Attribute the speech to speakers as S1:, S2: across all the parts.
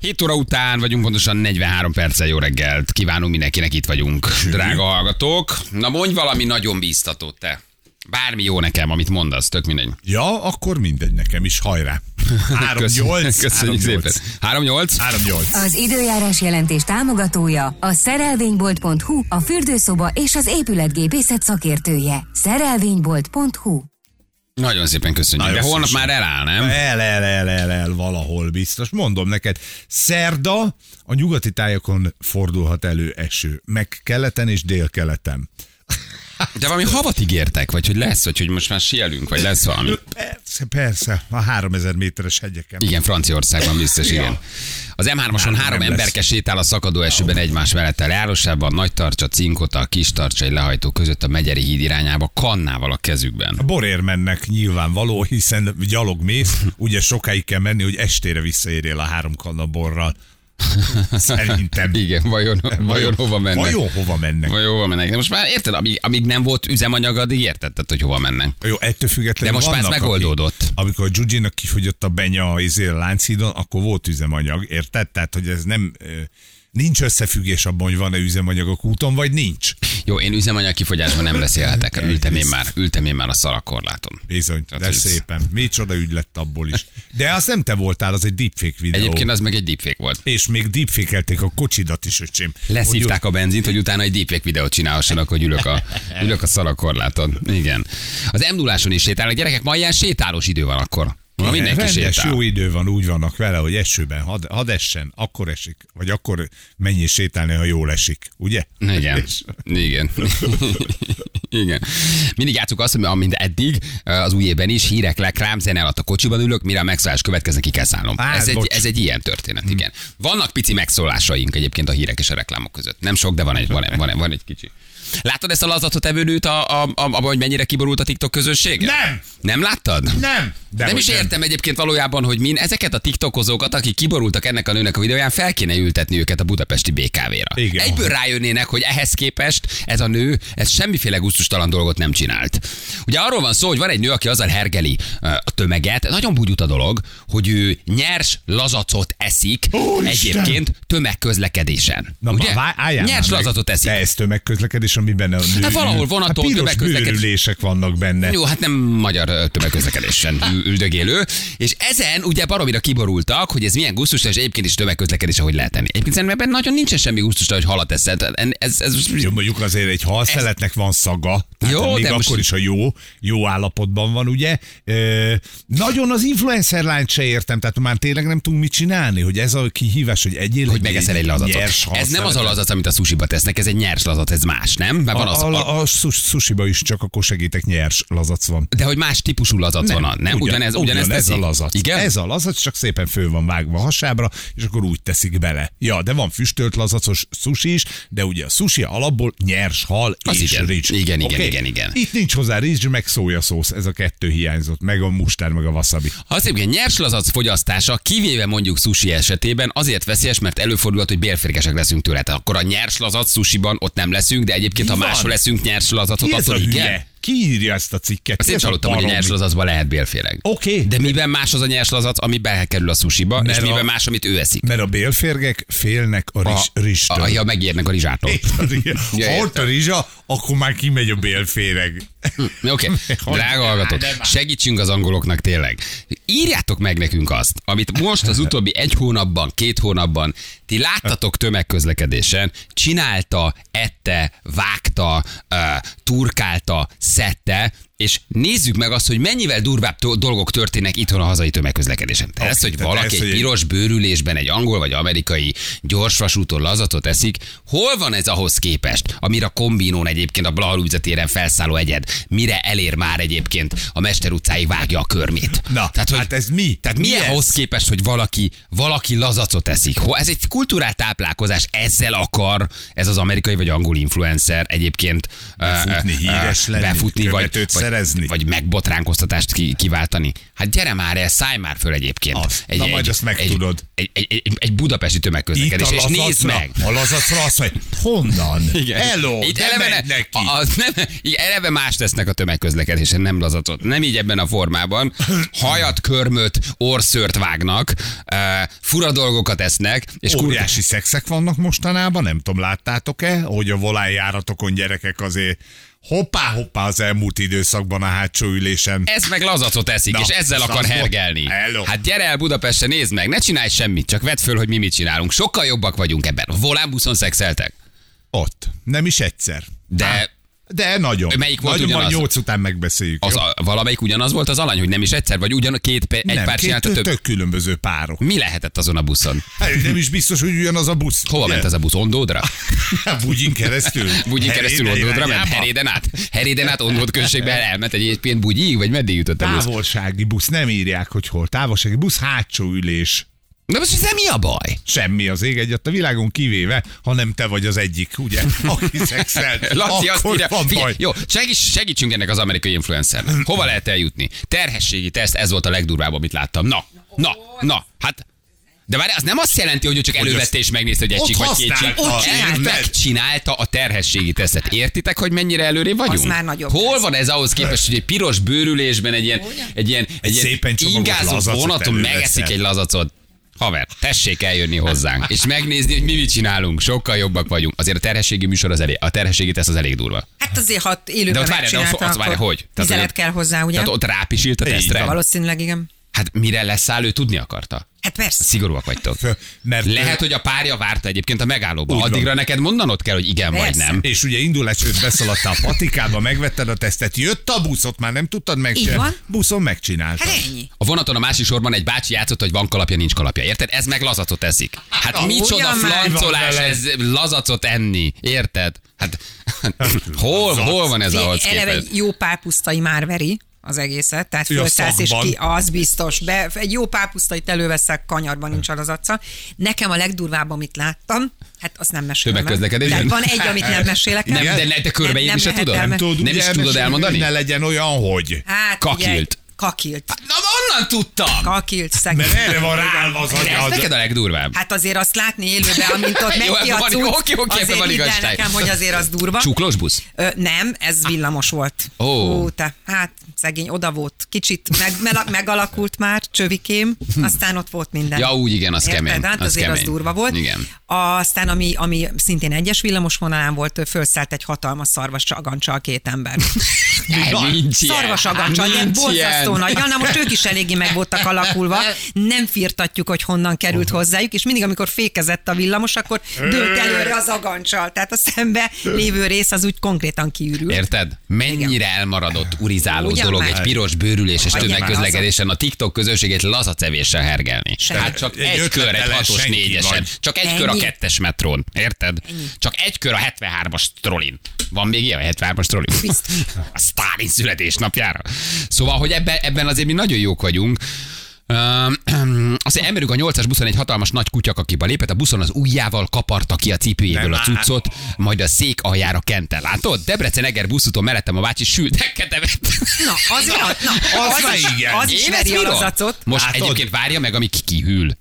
S1: 7 óra után vagyunk, pontosan 43 perccel jó reggelt. Kívánunk mindenkinek, itt vagyunk, drága hallgatók. Na mondj valami nagyon bíztató te. Bármi jó nekem, amit mondasz, tök mindegy.
S2: Ja, akkor mindegy nekem is, hajrá. 3-8.
S1: Köszönjük szépen. 3-8.
S2: 3-8.
S3: Az időjárás jelentés támogatója a szerelvénybolt.hu, a fürdőszoba és az épületgépészet szakértője. Szerelvénybolt.hu
S1: Nagyon szépen köszönjük.
S2: Nagyon
S1: De holnap
S2: szépen.
S1: már eláll, nem?
S2: El, el, el, el, el, valahol biztos. Mondom neked, szerda a nyugati tájakon fordulhat elő eső. Meg keleten és délkeleten.
S1: De valami havat ígértek, vagy hogy lesz, vagy hogy most már sielünk, vagy lesz valami.
S2: Persze, persze, a 3000 méteres hegyeken.
S1: Igen, Franciaországban biztos, igen. Az M3-ason
S2: Nem,
S1: három
S2: nem
S1: emberke sétál a szakadó esőben egymás mellett a járosában, nagy tartsa, cinkota, a kis tartsa egy lehajtó között a Megyeri híd irányába, kannával a kezükben.
S2: A borért mennek nyilvánvaló, hiszen gyalog mész, ugye sokáig kell menni, hogy estére visszaérjél a három kanna borral. Szerintem.
S1: Igen, vajon, vajon hova mennek?
S2: Vajon hova mennek?
S1: Vajon hova mennek? De most már érted, amíg, amíg nem volt üzemanyag, addig értetted, hogy hova mennek.
S2: Jó, ettől függetlenül
S1: De most már ez
S2: vannak,
S1: megoldódott.
S2: Akik, amikor a Gyugyinak kifogyott a benya a izé a Lánchídon, akkor volt üzemanyag, érted? Tehát, hogy ez nem... ö, Nincs összefüggés abban, hogy van-e üzemanyag a úton, vagy nincs.
S1: Jó, én üzemanyag kifogyásban nem beszélhetek. Ültem én már, ültem én már a szalakorláton.
S2: Bizony,
S1: Tehát
S2: de
S1: Hát ez-
S2: szépen. Micsoda ügy lett abból is. De azt nem te voltál, az egy deepfake videó.
S1: Egyébként az meg egy deepfake volt.
S2: És még deepfake a kocsidat is, öcsém.
S1: Leszívták a benzint, hogy utána egy deepfake videót csinálhassanak, hogy ülök a, ülök a szalakorláton. Igen. Az m 0 is sétálnak. Gyerekek, ma ilyen sétálós idő van akkor. Ma
S2: Igen,
S1: mindenki
S2: rendes,
S1: sétál.
S2: jó idő van, úgy vannak vele, hogy esőben, had, had essen, akkor esik, vagy akkor menjél sétálni, ha jól esik, ugye?
S1: Igen. Igen. Igen. Mindig játszunk azt, ami- amint eddig, eh, az új évben is, hírek, lekrám, zene alatt a kocsiban ülök, mire a megszólás következnek, ki kell szállnom.
S2: Á,
S1: ez, egy,
S2: bocs. Hm.
S1: ez egy ilyen történet, igen. Vannak pici megszólásaink egyébként a hírek és a reklámok között. Nem sok, de van egy, van, van, van egy kicsi. Látod ezt a lazatot evőnőt, a, a, a, abban, hogy mennyire kiborult a TikTok közönsége?
S2: Nem!
S1: Nem láttad?
S2: Nem!
S1: De nem
S2: hogy
S1: is értem egyébként valójában, hogy min ezeket a tiktokozókat, akik kiborultak ennek a nőnek a videóján, fel kéne ültetni őket a budapesti BKV-ra.
S2: Igen.
S1: Egyből rájönnének, hogy ehhez képest ez a nő, ez semmiféle gusztustalan dolgot nem csinált. Ugye arról van szó, hogy van egy nő, aki azzal hergeli ö, a tömeget, nagyon bugyut a dolog, hogy ő nyers lazacot eszik
S2: Ó, Isten!
S1: egyébként tömegközlekedésen.
S2: Na,
S1: Ugye?
S2: vá- álljál már
S1: nyers
S2: meg.
S1: lazacot eszik.
S2: De ez tömegközlekedés, amiben a nő...
S1: Hát valahol vonaton
S2: hát piros
S1: tömegközlekedés.
S2: bőrülések vannak benne.
S1: Jó, hát nem magyar ö, tömegközlekedésen ü- üldögélő. És ezen ugye baromira kiborultak, hogy ez milyen gusztus, és egyébként is tömegközlekedés, ahogy lehet tenni. Egyébként szerintem ebben nagyon nincsen semmi gusztus, hogy halat eszel. Tehát en- Ez, ez,
S2: Jó, mondjuk azért egy halszeletnek van szaga, tehát
S1: Jó,
S2: jó, még
S1: de
S2: akkor
S1: most-
S2: is, ha jó, jó állapotban van, ugye? Ö, nagyon az influencer lányt se értem, tehát már tényleg nem tudunk mit csinálni, hogy ez a kihívás, hogy egyél
S1: hogy megeszel egy lazacot.
S2: nyers
S1: Ez nem az a
S2: halszeletet.
S1: lazac, amit a susiba tesznek, ez egy nyers lazac, ez más, nem? Mert van az,
S2: a,
S1: a,
S2: a, a, sus- sushiba is csak akkor segítek nyers lazac van.
S1: de hogy más típusú lazac
S2: Nem,
S1: van, a- nem? Ugyanez, ugyanez,
S2: ez
S1: teszik?
S2: a lazac.
S1: Igen?
S2: Ez a lazac, csak szépen föl van vágva a hasábra, és akkor úgy teszik bele. Ja, de van füstölt lazacos sushi is, de ugye a sushi alapból nyers hal
S1: Az
S2: és
S1: igen.
S2: rizs.
S1: Igen, igen,
S2: Oké?
S1: igen, igen.
S2: Itt nincs hozzá rizs, meg szójaszósz, ez a kettő hiányzott, meg a mustár, meg a wasabi.
S1: Ha az egyébként nyers lazac fogyasztása, kivéve mondjuk sushi esetében, azért veszélyes, mert előfordulhat, hogy bélférgesek leszünk tőle. Tehát akkor a nyers lazac sushiban ott nem leszünk, de egyébként,
S2: Mi
S1: ha
S2: van?
S1: máshol leszünk nyers lazacot,
S2: Ki ez a
S1: attól igen.
S2: hülye? Ki írja ezt a cikket?
S1: Azt
S2: Ki
S1: én
S2: ez a
S1: csalódtam, hogy a
S2: barom?
S1: nyers lazacban lehet bélféreg.
S2: Oké.
S1: De miben más az a nyers lazac, ami belekerül a sushiba, és
S2: Mert a-
S1: miben más, amit ő eszik?
S2: Mert a bélférgek félnek a rizs, rizstől.
S1: a, ja, megérnek a rizsától.
S2: Érted? Igen.
S1: Ja,
S2: ha
S1: értem.
S2: ott a rizsa, akkor már kimegy a bélféreg.
S1: Oké, okay.
S2: Hogy-
S1: drága hallgatók,
S2: De már.
S1: segítsünk az angoloknak tényleg. Írjátok meg nekünk azt, amit most az utóbbi egy hónapban, két hónapban ti láttatok tömegközlekedésen, csinálta, ette, vágta, ö, turkálta, szedte, és nézzük meg azt, hogy mennyivel durvább to- dolgok történnek itthon a hazai tömegközlekedésen. Okay, ez, hogy
S2: tehát
S1: valaki
S2: ez,
S1: egy
S2: hogy egy-
S1: piros bőrülésben egy angol vagy amerikai gyorsvasúton lazatot eszik, hol van ez ahhoz képest, amire a kombinón egyébként a Blaha Lujza téren felszálló egyed, mire elér már egyébként a Mester utcáig vágja a körmét?
S2: Na, hát ez mi?
S1: Tehát
S2: Mi
S1: milyen
S2: ez?
S1: ahhoz képest, hogy valaki, valaki lazacot eszik? Ho, ez egy kultúrált táplálkozás, ezzel akar ez az amerikai vagy angol influencer egyébként ö,
S2: Befutni,
S1: ö, ö,
S2: híres lenni,
S1: befutni vagy,
S2: követőt
S1: vagy
S2: szerezni.
S1: vagy megbotránkoztatást ki, kiváltani. Hát gyere már el, szállj már föl egyébként.
S2: Az. Na majd azt megtudod.
S1: Egy, egy, egy, egy budapesti tömegközlekedés, és nézd
S2: lazacra-
S1: meg.
S2: A lazacra azt mondja, honnan? Hello,
S1: Itt
S2: de eleve
S1: eleve,
S2: menj neki.
S1: a- az nem, így eleve más tesznek a tömegközlekedésen, nem lazacot. Nem így ebben a formában. Hajat, körmöt, orszört vágnak, uh, fura dolgokat esznek, és kurva
S2: Óriási szexek vannak mostanában, nem tudom, láttátok-e, hogy a volánjáratokon gyerekek azért hoppá-hoppá az elmúlt időszakban a hátsó ülésen.
S1: ez meg lazacot eszik,
S2: Na,
S1: és ezzel
S2: és
S1: akar
S2: azt mond-
S1: hergelni.
S2: Hello.
S1: Hát gyere el Budapestre, nézd meg, ne csinálj semmit, csak vedd föl, hogy mi mit csinálunk. Sokkal jobbak vagyunk ebben. A volánbuszon szexeltek.
S2: Ott. Nem is egyszer.
S1: De-
S2: de nagyon.
S1: Melyik volt
S2: nagyon
S1: ugyanaz?
S2: majd nyolc után megbeszéljük.
S1: Az
S2: jó?
S1: a, valamelyik ugyanaz volt az alany, hogy nem is egyszer, vagy ugyan két, pe- egy
S2: nem,
S1: pár
S2: két,
S1: csinálta több.
S2: tök különböző párok.
S1: Mi lehetett azon a buszon?
S2: Hát, nem is biztos, hogy ugyanaz a busz.
S1: Hova ment ez a busz? Ondódra?
S2: a Bugyin keresztül?
S1: Bugyin keresztül
S2: Heréde
S1: Ondódra ment?
S2: irányába?
S1: Heréden át? Heréden át Ondód községbe elment egyébként Bugyig, vagy meddig jutott a busz?
S2: Távolsági busz, nem írják, hogy hol. Távolsági busz, hátsó ülés.
S1: Na most ez mi a baj?
S2: Semmi az ég egyet a világon kivéve, ha nem te vagy az egyik, ugye? Aki szexel,
S1: Laci azt
S2: akkor
S1: írja,
S2: van
S1: figyelj,
S2: baj.
S1: jó, segíts, segítsünk ennek az amerikai influencernek. Hova lehet eljutni? Terhességi teszt, ez volt a legdurvább, amit láttam. Na, na, na, hát de már az nem azt jelenti, hogy ő csak elővette és megnézte, hogy egy
S2: ott
S1: csík vagy két csík.
S2: használta,
S1: El
S2: érted?
S1: megcsinálta a terhességi tesztet. Értitek, hogy mennyire előrébb vagyunk?
S4: Az már nagyobb
S1: Hol
S4: lesz.
S1: van ez ahhoz képest, hogy egy piros bőrülésben egy ilyen, egy ilyen, egy ilyen
S2: szépen csomagolt
S1: ingázó
S2: lazacot
S1: vonaton
S2: előveszel.
S1: megeszik egy lazacot. Haver, tessék eljönni hozzánk, és megnézni, hogy mi mit csinálunk. Sokkal jobbak vagyunk. Azért a terhességi műsor az elég, a terhességi teszt az elég durva.
S4: Hát azért, ha
S1: De
S4: élőben
S1: ott várja, de ott-
S4: megcsinálta,
S1: ott várja,
S4: akkor
S1: hogy? Tehát, hogy
S4: Tizelet
S1: ott-
S4: kell hozzá, ugye?
S1: Tehát ott rápisilt a
S2: Így
S1: tesztre.
S4: Valószínűleg igen.
S1: Hát mire leszáll, ő tudni akarta.
S4: Hát persze.
S1: Szigorúak vagytok.
S2: Mert
S1: Lehet, hogy a párja várta egyébként a megállóban.
S2: Úgy van.
S1: Addigra neked mondanod kell, hogy igen vagy
S4: Persze.
S1: nem.
S2: És ugye indulás előtt beszaladtál a patikába, megvetted a tesztet, jött a busz, ott már nem tudtad megcsinálni.
S4: Így van.
S2: Buszon megcsináltad.
S4: Hát ennyi.
S1: A vonaton a másik sorban egy bácsi játszott, hogy van kalapja, nincs kalapja. Érted? Ez meg lazacot eszik. Hát
S2: Na,
S1: micsoda
S4: ugyan már
S1: flancolás
S2: van vele.
S1: ez lazacot enni. Érted? Hát hol, hol van ez ahhoz
S4: Eleve
S1: képest?
S4: egy jó pápusztai már veri az egészet, tehát
S2: Ja,
S4: fölszállsz és
S2: szakban.
S4: ki, az biztos. Be, egy jó pápusztait előveszek, kanyarban nincs az acca. Nekem a legdurvább, amit láttam, hát azt nem mesélem. el.
S1: Tömegközlekedés?
S4: Tehát van egy, amit nem mesélek. el.
S1: Nem, de ne- de körbeírni se
S4: lehet
S1: tudod?
S4: elme-
S1: Nem
S2: Tudod,
S1: Nem
S2: ugye,
S1: is tudod
S2: mesélni,
S1: elmondani?
S2: Ne legyen olyan, hogy.
S4: Hát,
S1: Kakilt.
S4: figyelj, kakilt.
S1: Na onnan tudtam!
S4: Kakilt, szegény.
S2: Mert erre van rá az
S1: De ez
S2: agyad.
S1: neked a legdurvább.
S4: Hát azért azt látni élőben, amint ott
S1: Jó,
S4: megy ki a
S1: ebben van-
S4: cucc,
S1: oké, oké, ebben
S4: azért
S1: van
S4: hidd el
S1: igazság.
S4: nekem, hogy azért az durva.
S1: Csuklós busz?
S4: Ö, nem, ez villamos volt.
S1: Ó.
S4: Hú, te, hát szegény, oda volt. Kicsit meg, mela- megalakult már, csövikém, aztán ott volt minden.
S1: Ja, úgy igen, az
S4: Érted?
S1: kemény,
S4: Hát
S1: az
S4: azért
S1: kemény.
S4: az durva volt.
S1: Igen.
S4: Aztán, ami, ami szintén egyes villamos vonalán volt, ő fölszállt egy hatalmas szarvas agancsal két ember.
S1: Ne, nincs ilyen.
S4: szarvas agancsal, ilyen
S1: Nincs
S4: borzasztó
S1: ilyen.
S4: nagy. Ja, na most ők is eléggé meg voltak alakulva, nem firtatjuk, hogy honnan került hozzájuk, és mindig, amikor fékezett a villamos, akkor dőlt előre az agancsal. Tehát a szembe lévő rész az úgy konkrétan kiürült.
S1: Érted? Mennyire elmaradott, urizáló
S4: Ugyan
S1: dolog
S4: már.
S1: egy piros bőrüléses
S4: Ugyan már.
S1: tömegközlekedésen a TikTok közönségét laza cevéssel hergelni.
S4: Semmi.
S1: Hát csak
S2: Egy
S1: egy, kör egy
S2: ötletelen
S1: hatos
S2: senki
S1: négyesen,
S2: vagy.
S1: csak egy kör a
S4: Ennyi?
S1: kettes metrón, érted? Csak egy kör a 73-as trolin. Van még ilyen a 73-as trolin? A Stalin születésnapjára. Szóval, hogy ebben, ebben azért mi nagyon jók vagyunk. Öm, Azt emberük a 8-as buszon egy hatalmas nagy kutyakakiba lépett, a buszon az ujjával kaparta ki a cipőjéből
S2: Nem
S1: a
S2: áll.
S1: cuccot, majd a szék aljára kente. Látod? Debrecen Eger buszúton mellettem a bácsi sültekket evett.
S4: Na, az, na, na,
S2: Az
S4: az,
S2: már
S4: is,
S2: igen.
S4: az
S1: Én
S4: is
S1: ezt
S4: veri a
S1: bírom.
S4: lazacot.
S1: Most
S2: Látod?
S1: egyébként várja meg, amíg kihűl.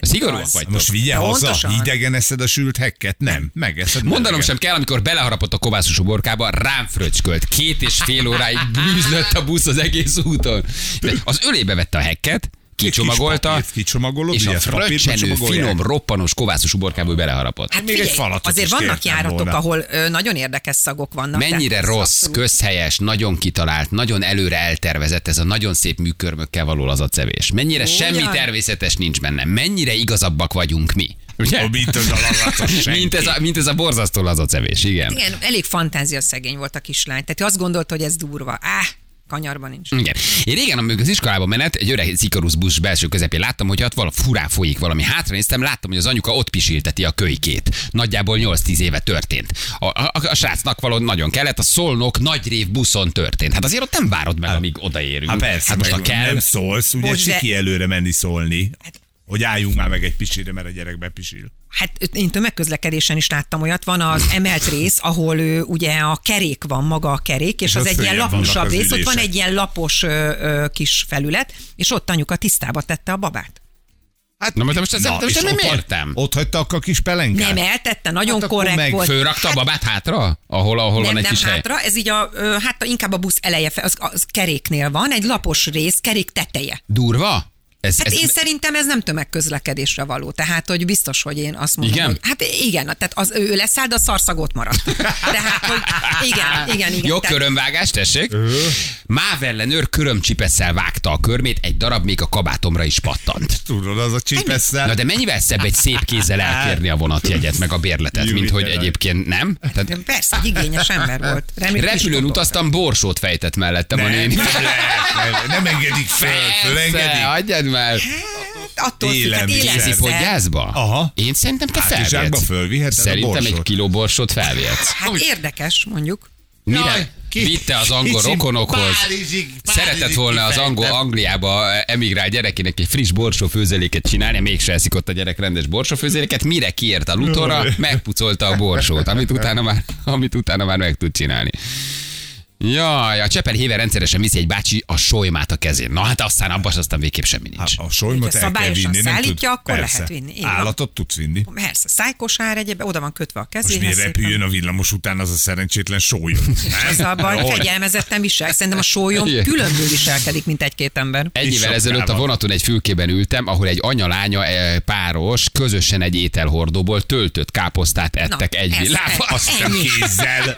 S1: Szigorúak
S4: Az.
S1: vagytok.
S2: Most vigye haza,
S4: Pontosan.
S2: idegen eszed a sült hekket? Nem, megeszed.
S1: Mondanom
S2: melegen.
S1: sem kell, amikor beleharapott a kovászos uborkába, rám fröcskölt. Két és fél óráig bűzlött a busz az egész úton. De az ölébe vette a hekket, kicsomagolta,
S2: Kis papírt kicsomagolod,
S1: és a
S2: ugye, ezt papírba
S1: fröccsenő,
S2: csomagolják.
S1: finom, roppanos kovászos uborkából beleharapott.
S4: Hát
S2: Még egy
S4: figyelj,
S2: falatot
S4: azért
S2: is
S4: vannak
S2: kértem
S4: járatok,
S2: volna.
S4: ahol ö, nagyon érdekes szagok vannak.
S1: Mennyire
S4: tehát ez
S1: rossz,
S4: abszolút-
S1: közhelyes, nagyon kitalált, nagyon előre eltervezett ez a nagyon szép műkörmökkel való lazacevés. Mennyire
S4: Ugyan.
S1: semmi természetes nincs benne. Mennyire igazabbak vagyunk mi. Ugye?
S2: A mint az a lazacos senki.
S1: mint, ez a, mint ez a borzasztó lazacevés, igen.
S4: Igen, elég fantáziaszegény volt a kislány. Tehát ő azt gondolta, hogy ez durva. Áh, kanyarban nincs.
S1: Igen. Én régen, amikor az iskolába menet, egy öreg szikarusz busz belső közepén láttam, hogy ott vala furán folyik valami. Hátra néztem, láttam, hogy az anyuka ott pisilteti a kölykét. Nagyjából 8-10 éve történt. A, a, a srácnak való nagyon kellett, a szolnok nagyrév buszon történt. Hát azért ott nem várod meg, amíg odaérünk.
S2: Hát persze,
S1: hát most a kell.
S2: nem szólsz, ugye
S4: Hogy de-
S2: siki előre menni szólni.
S4: Hát
S2: hogy álljunk már meg egy pisire, mert a gyerek bepisil.
S4: Hát én tömegközlekedésen is láttam olyat, van az emelt rész, ahol ö, ugye a kerék van, maga a kerék, és,
S2: És
S4: és az
S2: ott
S4: egy ilyen
S2: följebb vannak
S4: laposabb
S2: az
S4: rész, ott van
S2: ülések.
S4: egy ilyen lapos ö, ö, kis felület, és ott anyuka tisztába tette a babát.
S2: Hát,
S1: Na, most- most ezzel- most
S2: és
S1: nem
S2: ott hagy-
S1: értem.
S2: Ott hagyta a kis pelenkát.
S4: Nem eltette, nagyon
S2: Hát akkor meg
S4: korrekt volt.
S1: Fölrakta a babát hátra, ahol, ahol
S4: Nem,
S1: van egy
S4: nem
S1: kis hely.
S4: hátra, ez így a, ö, hát inkább a busz eleje, fe- az, az keréknél van, egy lapos rész, kerék teteje.
S1: Durva? Ez,
S4: Hát
S1: ez,
S4: én szerintem ez nem tömegközlekedésre való, tehát hogy biztos, hogy én azt mondom,
S1: Igen?
S4: hogy hát igen, tehát az ő leszáll, de a szarszagot maradt. Tehát, hogy igen, igen, igen.
S1: Jó
S4: tehát,
S1: körömvágás, tessék. Mávellenőr körömcsipesszel vágta a körmét, egy darab még a kabátomra is pattant.
S2: Tudod, az a csipesszel.
S1: Na de mennyivel szebb egy szép kézzel elkérni a vonatjegyet, meg a bérletet,
S2: Jó,
S1: mint hogy
S2: igen.
S1: egyébként nem? Tehát
S4: Persze, egy igényes ember volt. Remélem,
S1: repülőn
S4: kis
S1: utaztam, borsót fejtett mellettem a
S2: Nem, nem,
S1: néni.
S2: nem, nem engedik föl,
S1: Persze,
S2: fölengedik.
S1: hagyjad már.
S4: dolgok. Attól függ, hát
S2: Élelmiszer.
S4: élelmiszer.
S1: Kézipodgyászba?
S2: Aha.
S1: Én szerintem te
S2: Hátizsákba
S1: felvihetsz.
S2: fölviheted a
S1: Szerintem egy
S2: borsót.
S1: kiló borsót felvihetsz.
S4: Hát érdekes, mondjuk.
S1: Mire
S2: ki-
S1: vitte az angol
S2: kicsi
S1: rokonokhoz?
S2: Párizsig- Párizsig
S1: Szeretett volna az
S2: kifejtem.
S1: angol Angliába emigrál gyerekének egy friss borsófőzeléket csinálni, mégse eszik ott a gyerek rendes borsófőzeléket, mire kiért a lutora, megpucolta a borsót, amit utána már, amit utána már meg tud csinálni. Jaj, a Csepel héve rendszeresen viszi egy bácsi a solymát a kezén. Na hát aztán abban aztán végképp semmi nincs.
S2: Hát, A solymot
S4: Hogyha
S2: el kell
S4: szabályosan
S2: vinni, nem tud.
S4: szállítja, akkor lehet
S2: Persze.
S4: vinni. Így van.
S2: Állatot tudsz vinni.
S4: Persze, szájkosár egyéb, oda van kötve a
S2: Most
S4: kezéhez.
S2: miért
S4: szépen.
S2: repüljön a villamos után az a szerencsétlen sólyom?
S4: Ez a baj, fegyelmezetten visel. Szerintem a sólyom
S1: Igen.
S4: különből viselkedik, mint egy-két ember.
S1: Egy
S2: Kis
S1: évvel
S2: sapkával.
S1: ezelőtt a vonaton egy fülkében ültem, ahol egy anya-lánya eh, páros közösen egy ételhordóból töltött káposztát ettek
S4: Na,
S1: egy
S4: ez-
S1: villával.
S4: ez-
S2: Azt hiszem
S4: Ennyi.
S2: kézzel.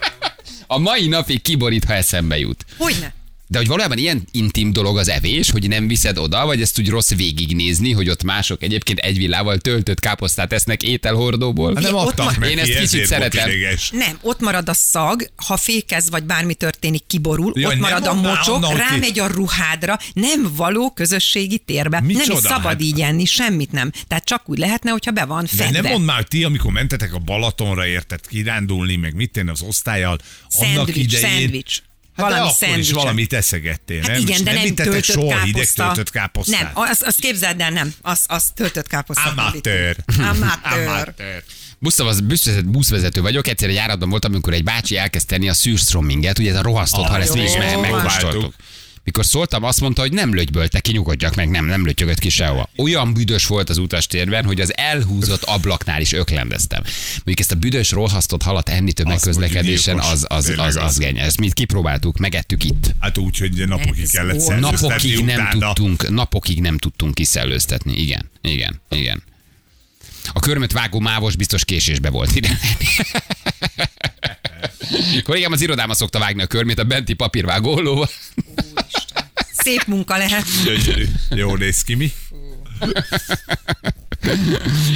S1: A mai napig kiborít, ha eszembe jut.
S4: Hogyne?
S1: De hogy valójában ilyen intim dolog az evés, hogy nem viszed oda, vagy ezt úgy rossz végignézni, hogy ott mások egyébként egy villával töltött káposztát esznek ételhordóból.
S2: Hát nem
S4: ott
S2: adtak
S4: van-
S2: meg
S1: Én
S2: ki,
S1: ezt kicsit
S2: ezért volt
S1: szeretem.
S2: ideges.
S4: Nem, ott marad a szag, ha fékez, vagy bármi történik, kiborul,
S2: Jaj,
S4: Jaj, ott
S2: nem
S4: marad a
S2: mondd már,
S4: mocsok,
S2: Anna, hogy
S4: rámegy a ruhádra, nem való közösségi térbe. nem
S2: Micsoda,
S4: is szabad
S2: hát-
S4: így enni, semmit nem. Tehát csak úgy lehetne, hogyha be van
S2: De
S4: fedve.
S2: nem mondd már, hogy ti, amikor mentetek a Balatonra, érted kirándulni, meg mit tenni az osztályjal, annak
S4: Szendvics,
S2: idején...
S4: szendvics.
S2: Hát
S4: Valami
S2: valami akkor is
S4: szendvicset.
S2: valamit eszegettél,
S4: Hát
S2: nem? És
S4: igen, de
S2: nem,
S4: nem
S2: ittetek
S4: töltött
S2: soha
S4: káposzta.
S2: hideg töltött káposztát.
S4: Nem, azt, azt képzeld el, nem. Azt, azt töltött káposztát.
S2: Amatőr.
S4: Amatőr.
S2: Amatőr.
S1: Buszavaz, buszvezető, buszvezető vagyok, egyszer egy járatban voltam, amikor egy bácsi elkezd tenni a szűrstromminget, ugye ez a rohasztott,
S2: Ah,
S1: ha ezt mi is
S2: jó.
S1: me- megkóstoltuk.
S2: Próbáltuk.
S1: Mikor szóltam, azt mondta, hogy nem lögybölte ki, nyugodjak meg, nem, nem lötyögött ki sehova. Olyan büdös volt az utastérben, hogy az elhúzott ablaknál is öklendeztem. Mondjuk ezt a büdös, rohasztott halat enni tömegközlekedésen,
S2: gyilkos.
S1: az, az, az,
S2: Tényleg
S1: az,
S2: az.
S1: az genyes. Ezt mi kipróbáltuk, megettük itt.
S2: Hát úgy, hogy napokig
S4: Ez
S2: kellett
S4: óra.
S2: szerződtetni
S1: Napokig nem
S2: utána.
S1: tudtunk, napokig nem tudtunk kiszellőztetni. Igen, igen, igen. A körmöt vágó mávos biztos késésbe volt ide. Kollégám az irodáma szokta vágni a körmét a benti papírvágó ollóval.
S4: Szép munka lehet.
S2: Gyönyörű. Jó néz ki mi.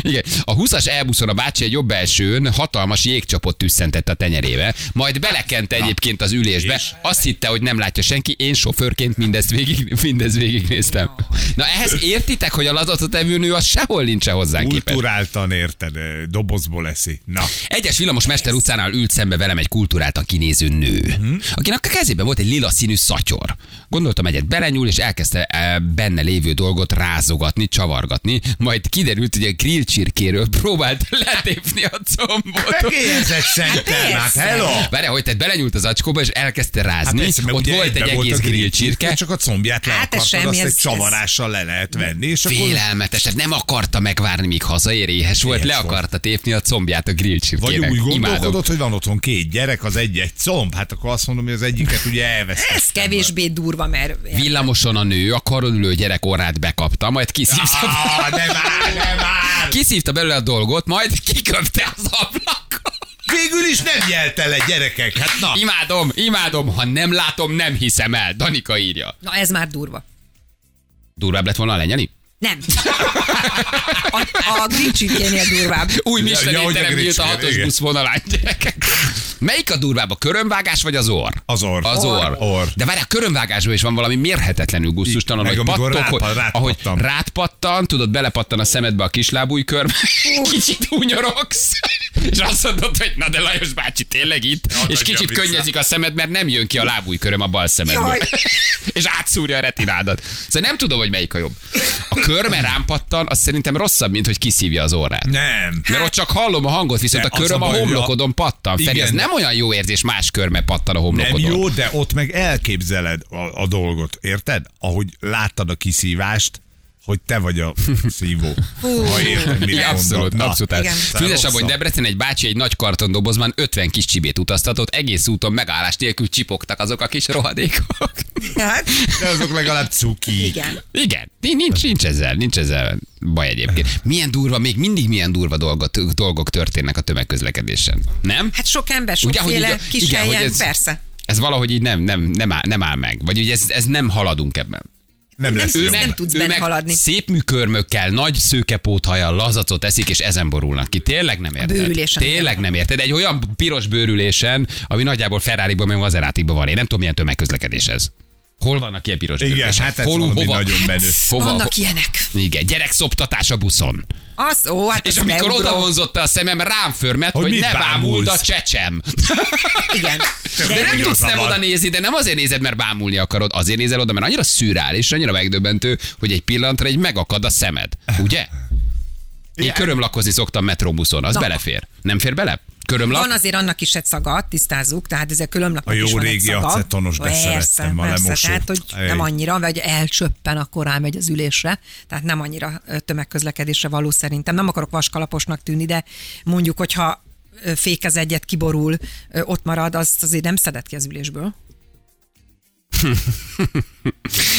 S1: Igen. A 20-as elbuszon a bácsi egy jobb elsőn hatalmas jégcsapot tüsszentett a tenyerébe, majd belekent egyébként az ülésbe. Azt hitte, hogy nem látja senki, én sofőrként mindezt végig, mindez végignéztem. Na ehhez értitek, hogy a lazatot evő nő az sehol nincs hozzá képest.
S2: Kulturáltan érted, ö, dobozból eszi. Na,
S4: Hát
S1: Egyes villamosmester utcánál ült szembe velem egy kultúráltan kinéző nő, akinek a kezében volt egy lila színű szatyor. Gondoltam egyet belenyúl, és elkezdte eh, benne lévő dolgot rázogatni, csavargatni, majd kiderült, hogy a grill csirkéről próbált letépni a combot.
S2: megérzett szerintem, hát
S4: persze.
S2: hello!
S1: Várj, hogy tehát belenyúlt az acskóba, és elkezdte
S2: Hát
S1: rázni,
S2: persze, mert
S1: ott
S2: ugye
S1: volt egy
S2: egybe
S1: egész
S2: a
S1: grill
S2: csirke,
S1: csirke,
S2: Csak a combját le
S4: Hát ez
S2: akartad, azt
S4: semmi,
S2: egy
S4: ez-
S2: csavarással le lehet venni, és akkor
S1: Félelmetes, tehát nem akarta megvárni, míg hazaér, éhes volt,
S2: Éhes
S1: le
S2: volt.
S1: akarta tépni a combját a grill
S2: Vagy
S1: csirkének.
S2: úgy
S1: Imádom.
S2: gondolkodod, hogy van otthon két gyerek, az egy egy comb, hát akkor azt mondom, hogy az egyiket ugye elvesztettem.
S4: Ez kevésbé durva, mert
S1: Villamoson a nő, a karon ülő gyerek orrát bekapta, majd kiszívta,
S2: Ah, de már, de már!
S1: kiszívta belőle a dolgot, majd kiköpte az ablakot.
S2: Végül is nem jelte le gyerekek, hát na.
S1: Imádom, imádom, ha nem látom, nem hiszem el. Danika írja.
S4: na ez már durva.
S1: Durvább lett volna a lenyeli?
S4: Nem. A, a grincsikénél durvább.
S1: Új
S2: Hát, Ja,
S1: Michelin
S2: ja,
S1: ja,
S2: hogy a
S1: étterem nyílt a
S2: gricskén,
S1: hatos
S2: igen.
S1: busz vonalán, gyerekek. Melyik a durvább, a körömvágás vagy az orr?
S2: Az orr.
S1: Az orr.
S2: Orr.
S1: De várj, a körömvágásban is van valami mérhetetlenül gusztustalan,
S2: Meg
S1: hogy
S2: amikor
S1: pattok,
S2: rápa-
S1: hogy-
S2: rátpattam.
S1: ahogy rátpattan, tudod, belepattan a szemedbe a kislábúj kör, kicsit hunyorogsz. és azt mondod, hogy na de Lajos bácsi tényleg itt,
S2: Nagyon
S1: és kicsit
S2: vicces.
S1: könnyezik a szemed, mert nem jön ki a lábújköröm a bal szemedből.
S4: Jaj.
S1: és átszúrja a retinádat. Szóval nem tudom, hogy melyik a jobb. A körme rám pattan, az szerintem rosszabb, mint hogy kiszívja az órát.
S2: Nem.
S1: Mert ott csak hallom a hangot, viszont
S2: De
S1: a
S2: az
S1: köröm
S2: a
S1: a
S2: baj, hogy a-
S1: homlokodon pattan. Feri,
S2: Igen.
S1: ez nem olyan jó érzés, más körme pattan a
S2: Nem
S1: homlokodon.
S2: jó, de ott meg elképzeled a, a dolgot, érted? Ahogy láttad a kiszívást, hogy te vagy a szívó. ha érted, mire
S1: Igen,
S2: gondolok.
S1: abszolút,
S2: Na,
S1: abszolút.
S4: igen.
S1: Tűzesebb, hogy
S2: Rosszabb.
S1: Debrecen egy bácsi egy nagy kartondobozban 50 kis csibét utaztatott, egész úton megállás nélkül csipogtak azok a kis rohadékok.
S4: Hát,
S2: De azok legalább cuki.
S4: igen.
S1: Igen, ni- nincs, nincs ezzel, nincs ezzel baj egyébként. Milyen durva, még mindig milyen durva dolgot, dolgok történnek a tömegközlekedésen, nem?
S4: Hát sok ember,
S1: Ugye, hogy
S4: sokféle
S1: így a-
S4: kis
S1: igen, hogy
S4: helyen,
S1: ez-
S4: persze.
S1: Ez valahogy így nem, nem, nem, áll, nem áll meg, vagy ugye ez, ez nem haladunk ebben.
S2: Nem lesz
S4: Ő
S2: jó.
S4: meg- nem tudsz benne haladni.
S1: Szép műkörmökkel, nagy szőkepóthajjal, lazacot eszik, és ezen borulnak ki. Tényleg nem érted.
S4: bőrülésen.
S1: Tényleg nem érted. Egy olyan piros bőrülésen, ami nagyjából Ferrari-ban, meg Maserati-ban van. Én nem tudom, milyen tömegközlekedés ez. Hol vannak ilyen piros
S2: Igen,
S1: bőrülések?
S2: hát ez
S1: Hol,
S2: valami
S1: hova,
S2: nagyon menő.
S1: Hova,
S4: Vannak ilyenek.
S1: Igen, gyerekszoptatás a buszon.
S4: Az, ó, hát
S1: És
S4: az
S1: amikor
S4: beugró.
S1: odavonzotta a szemem, rám förmet, hogy,
S2: mit
S1: ne bámuld a
S2: bámulsz?
S1: csecsem.
S4: Igen.
S1: De nem
S2: Igazad
S1: tudsz nem
S2: van.
S1: oda nézni, de nem azért nézed, mert bámulni akarod, azért nézel oda, mert annyira szürreális, annyira megdöbbentő, hogy egy pillanatra egy megakad a szemed. Ugye? Én körömlakozni szoktam metróbuszon, az
S4: Na.
S1: belefér. Nem fér bele? Körömlak?
S4: Van azért annak is egy szaga, tisztázzuk, tehát ezek
S2: A
S4: különlapnak
S2: jó
S4: is van egy
S2: régi
S4: szaga.
S2: acetonos, de
S4: Persze,
S2: szerettem, a
S4: persze,
S2: lemosó.
S4: tehát, hogy
S2: Ej.
S4: nem annyira, vagy elcsöppen, akkor rámegy az ülésre, tehát nem annyira ö, tömegközlekedésre való szerintem. Nem akarok vaskalaposnak tűnni, de mondjuk, hogyha ö, fékez egyet, kiborul, ö, ott marad, azt azért nem szedett ki az ülésből.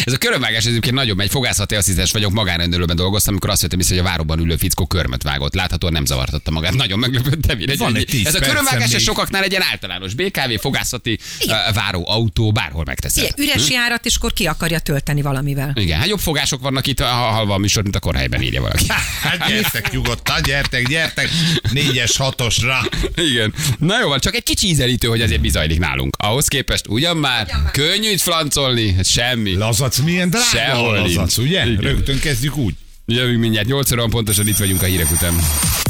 S1: Ez a körömvágás egyébként nagyobb, egy fogászati asszisztens vagyok, magánrendelőben dolgoztam, amikor azt jöttem észre, hogy a váróban ülő fickó körmet vágott. Láthatóan nem zavartatta magát. Nagyon meglepődtem. Én egy-
S2: Van egy tíz
S1: ez a
S2: percem
S1: körömvágás ez
S2: még.
S1: sokaknál egy ilyen általános BKV, fogászati, uh, váró, autó, bárhol
S4: Ugye,
S1: megteszed.
S4: üres
S2: Hm?
S4: járat, és akkor ki akarja tölteni valamivel.
S1: Igen, hát jobb fogások vannak itt, ha hallva a műsor, mint a korhelyben írja valaki.
S2: Hát gyertek nyugodtan, gyertek, gyertek. Négyes, hatosra.
S1: Igen. Na jó, van, csak egy kicsi ízelítő, hogy azért bizajlik nálunk. Ahhoz képest ugyan már, ugyan már. könnyű itt flancolni, hát semmi.
S2: Lazac milyen drága
S1: Sehol
S2: a lazac,
S1: nincs.
S2: ugye?
S1: Igen.
S2: Rögtön kezdjük úgy.
S1: Jövünk mindjárt 8 óra, pontosan itt vagyunk a hírek után.